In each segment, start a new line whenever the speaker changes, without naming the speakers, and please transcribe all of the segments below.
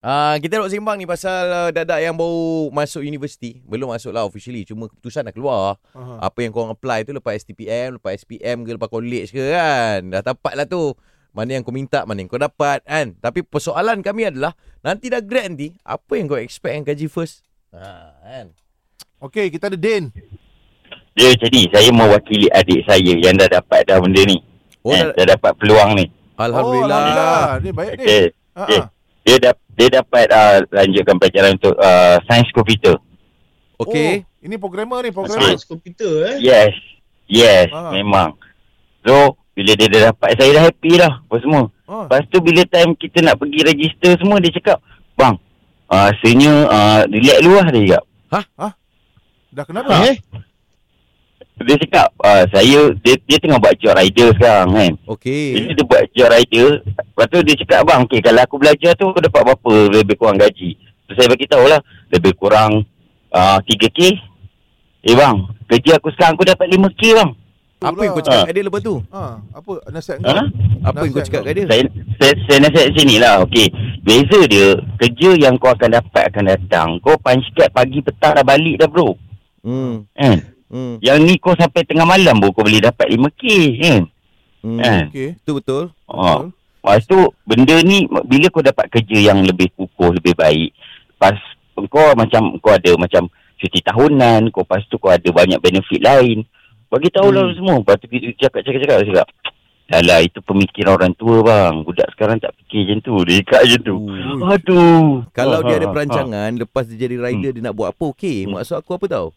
Uh, kita nak sembang ni pasal uh, dadak yang baru masuk universiti. Belum masuk lah officially. Cuma keputusan dah keluar.
Aha.
Apa yang korang apply tu lepas STPM, lepas SPM ke, lepas college ke kan. Dah dapat lah tu. Mana yang kau minta, mana yang kau dapat kan. Tapi persoalan kami adalah, nanti dah grad nanti, apa yang kau expect yang gaji first?
Ah,
Ha, kan?
Okey, kita ada Din.
Dia jadi saya mewakili adik saya yang dah dapat dah benda ni.
Oh,
Oh, eh,
dah,
dah dapat peluang ni.
Alhamdulillah.
Oh, Alhamdulillah. Ni baik Din.
Okey.
Ha
okey.
ah.
Dia dah dia dapat uh, lanjutkan pelajaran untuk uh, sains komputer.
Okay.
Oh, ini programmer ni, programmer.
Sains komputer eh.
Yes. Yes,
Ah.
memang. So, bila dia dah dapat saya dah happy lah apa semua.
Ha.
Lepas tu bila time kita nak pergi register semua dia cakap, "Bang, uh, rasanya uh, relax dulu lah dia cakap.
Dah kenapa?
Eh?
Dia cakap, uh, saya dia, dia tengah buat job rider sekarang kan.
Oh.
Okay.
Jadi dia buat jual rider Lepas tu dia cakap Abang okay, Kalau aku belajar tu Aku dapat berapa Lebih kurang gaji So saya bagi tahu lah Lebih kurang uh, 3K Eh bang Kerja aku sekarang Aku dapat 5K bang
Apa yang
lah.
kau cakap kat dia lepas tu?
Ha, apa nasihat kau?
ha?
Apa yang kau cakap kat dia?
saya, saya, saya nasihat sini lah okay. Beza dia Kerja yang kau akan dapat Akan datang Kau punch card pagi petang Dah balik dah bro
Hmm.
eh?
Hmm.
Yang ni kau sampai tengah malam baru Kau boleh dapat 5K eh?
Hmm.
Eh.
Okey.
Itu betul.
Oh. Lepas tu benda ni bila kau dapat kerja yang lebih kukuh, lebih baik. Lepas kau macam kau ada macam cuti tahunan, kau lepas tu kau ada banyak benefit lain. Bagi tahu lah
Hmm.
semua. Lepas tu dia cakap cakap cakap dia cakap. Alah itu pemikiran orang tua bang. Budak sekarang tak fikir macam tu. Dia cakap macam tu.
Ui.
Aduh.
Hmm. Kalau
Ha,
dia
ha,
ada
ha,
perancangan lepas dia jadi rider dia nak buat apa okey.
Hmm.
Maksud aku apa tau?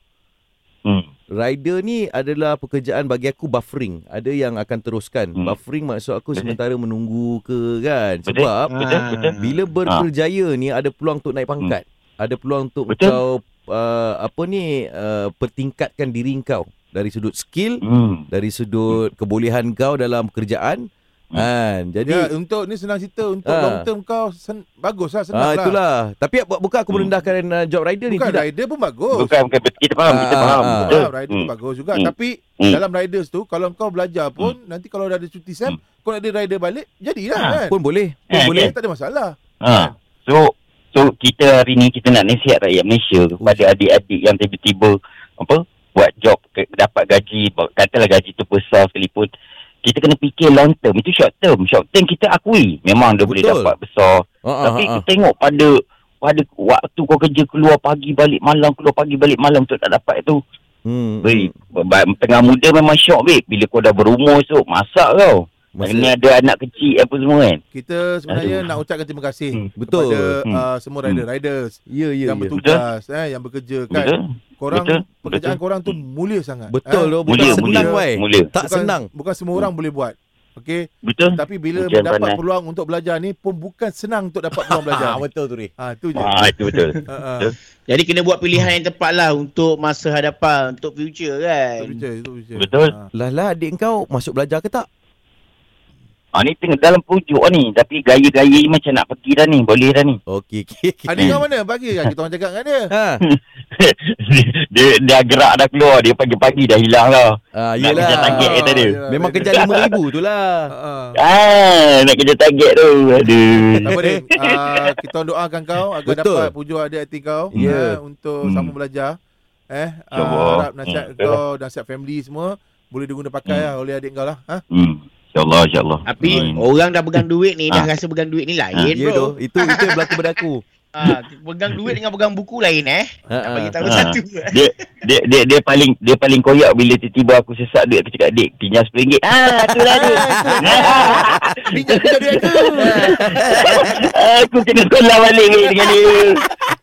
ha. Hmm.
Rider ni adalah pekerjaan bagi aku buffering. Ada yang akan teruskan.
Hmm.
Buffering maksud aku
Betul.
sementara menunggu ke kan.
Betul. Hmm.
Sebab
Ha. Betul,
Ah.
betul.
bila berkerjaya ni ada peluang untuk naik pangkat. Ada peluang untuk
Hmm. Betul.
kau uh, apa ni uh, pertingkatkan diri kau dari sudut skill,
Hmm.
dari sudut kebolehan kau dalam kerjaan.
Hmm.
Kan. Jadi
Ya, untuk ni senang cerita untuk
Ah.
long term kau sen- bagus lah senang
Ah,
lah.
itulah. Tapi bu- bukan aku
Hmm.
merendahkan uh, job rider ni
Bukan
tidak.
rider pun bagus.
Bukan, bukan. betul. Kita faham, kita
Oh. Ah,
faham.
ah, ah.
Betul.
Faham, rider tu
Hmm.
bagus juga
Hmm.
tapi
Hmm.
dalam riders tu kalau kau belajar pun nanti kalau dah ada cuti sem kau nak ada rider balik jadilah
Hmm. Ah,
kan.
Pun boleh. Pun
Eh,
boleh.
tak ada masalah.
Ha. So so kita hari ni kita nak nasihat rakyat Malaysia kepada adik-adik yang tiba-tiba apa buat job ke- dapat gaji ba- katalah gaji tu besar sekalipun kita kena fikir long term itu short term short term kita akui memang dia boleh
Betul.
dapat besar
Ha, ha,
tapi
ha, ha.
kita tengok pada pada waktu kau kerja keluar pagi balik malam keluar pagi balik malam untuk nak dapat tu
Hmm.
baik tengah muda memang syok baik bila kau dah berumur esok masak kau
Masa-
ni ada anak kecil apa semua kan
Kita sebenarnya
Aduh.
nak ucapkan terima kasih
Hmm.
Betul.
kepada
Hmm.
uh, semua rider-riders
Ya, ya,
yang
ya.
bertugas eh yang bekerja kan.
betul
Korang
Betul.
pekerjaan
Betul.
korang tu mulia sangat.
Hmm. Betul
eh.
tu. Bukan
mulia
senang,
mulia
wei.
mulia
Tak
Bukan-
senang. Hmm.
Bukan semua orang boleh buat. Okey,
betul
tapi bila
Bukan
mendapat
pandai.
peluang untuk belajar ni pun bukan senang untuk dapat peluang belajar.
Ah, betul tu, Ri.
ah, tu je.
Ah itu betul.
Ha, ha.
Jadi kena buat pilihan yang tepat lah untuk masa hadapan, untuk future
Itu
kan.
je, itu je.
Betul.
Ah.
Lah lah adik kau masuk belajar ke tak?
ah ni tengah dalam pujuk ah, ni tapi gaya-gaya ni macam nak pergi dah ni, boleh dah ni.
Okey, okey. okey.
Adik kau mana? Bagi kan kita orang cakap dengan dia.
Ha.
dia dah gerak dah keluar, dia pagi-pagi dah hilang lah.
Ah,
Nak kerja target
yelah.
eh tadi.
yelah.
Memang kerja 5000 tu lah.
Ah, ah.
Ah, nak kerja target tu. Aduh.
Tak apa Din. Ah, kita orang doakan kau agar
Betul.
dapat pujuk adik hati kau
Ya.
eh, untuk
Hmm.
sama belajar. Eh, ah,
InsyaAllah.
harap nasihat
Hmm.
kau, nasihat family semua boleh diguna pakai
Hmm.
lah oleh adik kau lah. Ha?
Hmm. InsyaAllah, insyaAllah.
Tapi
Hmm.
orang dah pegang duit ni, dah
Ah.
rasa pegang duit ni
Ah,
lain
Ya doh,
bro.
itu itu yang berlaku pada aku.
Ah, pegang duit dengan pegang buku lain eh.
Ha.
Nak
ha.
bagi tahu
Ah.
satu. eh.
Dia, dia dia dia paling dia paling koyak bila tiba-tiba aku sesak duit aku cakap dik pinjam RM10. Ah, tu lah dik.
Bijak kejadian tu.
aku kena sekolah balik ni dengan dia.